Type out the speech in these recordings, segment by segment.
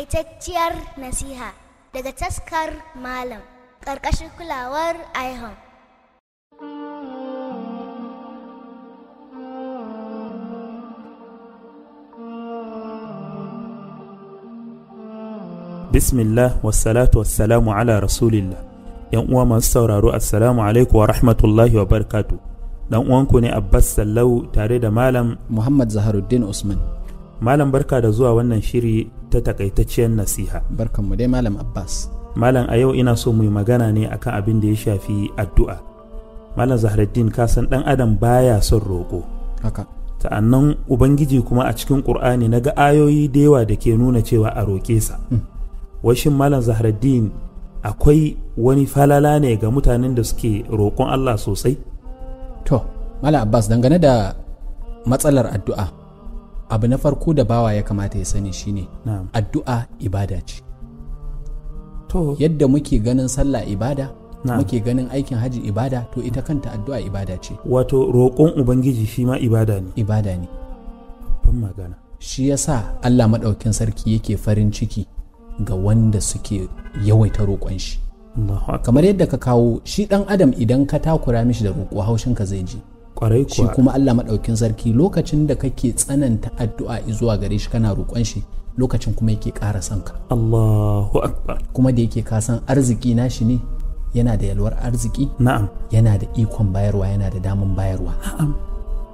Takaitacciyar nasiha daga taskar Malam ƙarƙashin kulawar IHOM. Bismillah wassalatu wassalamu ala rasulillah ‘yan uwa masu sauraro assalamu alaikum wa rahmatullahi wa barkatu dan uwanku ne Abbas Sallau tare da Malam Muhammad Zaharuddin Usman. Malam barka da zuwa wannan shiri ta takaitacciyar nasiha. Barkanmu dai Malam Abbas. Malam a yau ina so mu yi magana ne akan abin da ya shafi addu'a. Malam Zahraddin ka san dan adam baya son roƙo. Haka. Ta'annan Ubangiji kuma a cikin Ƙur'ani na ga ayoyi da yawa da ke nuna cewa a roƙe sa. Mm. Washin Malam Zahraddin akwai wani falala ne ga mutanen da suke roƙon Allah sosai? To, Malam Abbas dangane da matsalar addu'a abu na farko da bawa ya kamata ya sani shine Na'am. addu'a ibada ce. To, Yadda muke ganin sallah ibada, Na'am. muke ganin aikin haji ibada, to ita kanta addu'a ibada ce. wato roƙon Ubangiji shi ma ibada ne. Ibada ne. Ban magana. Shi yasa Allah maɗaukin sarki yake farin ciki ga wanda suke yawaita roƙon shi. Allahu akbar. Kamar yadda ka kawo shi ɗan adam idan ka takura mishi da roƙo haushinka zai ji. Ƙwarai shi kuwa. kuma Allah maɗaukin sarki lokacin da kake tsananta addu'a zuwa gare shi kana roƙon shi lokacin kuma yake ƙara son ka Allahu akbar. kuma da yake ka san arziki nashi ne yana da yalwar arziki Na'am. yana da ikon bayarwa yana da daman bayarwa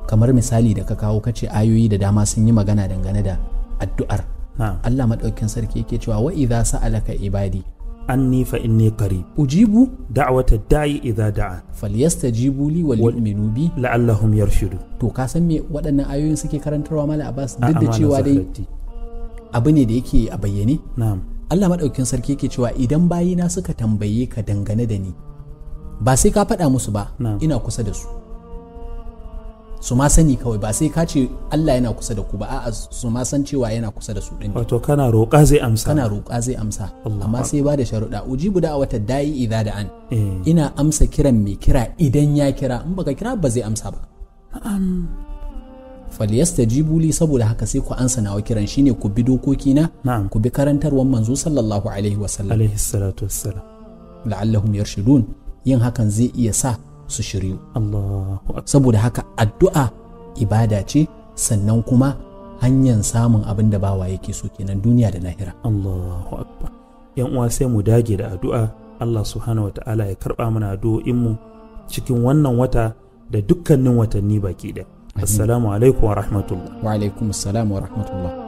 kamar misali da ka kawo kace ayoyi da dama sun yi magana dangane da addu'ar Na'am. Allah maɗaukin sarki yake cewa wa idza sa'alaka ibadi anni fa inni qarib ujibu da'wata da'i idza da'a falyastajibu li wal yu'minu bi la'allahum yarshudu to ka san me waɗannan ayoyin suke karantarwa mala Abbas A'a, duk da Malam cewa dai Zahraddin. abu ne da yake a bayyane na'am Allah maɗaukin sarki yake cewa idan bayina suka tambaye ka dangane da ni ba sai ka faɗa musu ba Na'am. ina kusa da su su ma sani kawai ba sai ka ce Allah yana kusa da ku ba a'a su ma san cewa yana kusa da su din ne. wato kana roƙa zai amsa kana roƙa zai amsa Allahu amma sai ba da sharuɗa ujibu da wata da'i idza da an Eh, ina amsa kiran mai kira idan ya kira in baka kira ba zai amsa ba falyastajibu li saboda haka sai ku ansa nawa kiran shine ku bi dokokina na'am ku bi karantarwar manzo sallallahu alaihi wasallam alaihi salatu wassalam la'allahum yarshudun yin hakan zai iya sa su shiryu Allahu akbar saboda haka addu'a ibada ce sannan kuma hanyar samun abin da bawa yake so kenan duniya da lahira Allahu akbar yan uwa sai mu dage da addu'a Allah subhanahu wata'ala ya karba mana addu'o'in mu cikin wannan wata da dukkanin watanni baki da assalamu alaikum wa rahmatullah wa alaikum assalam wa rahmatullah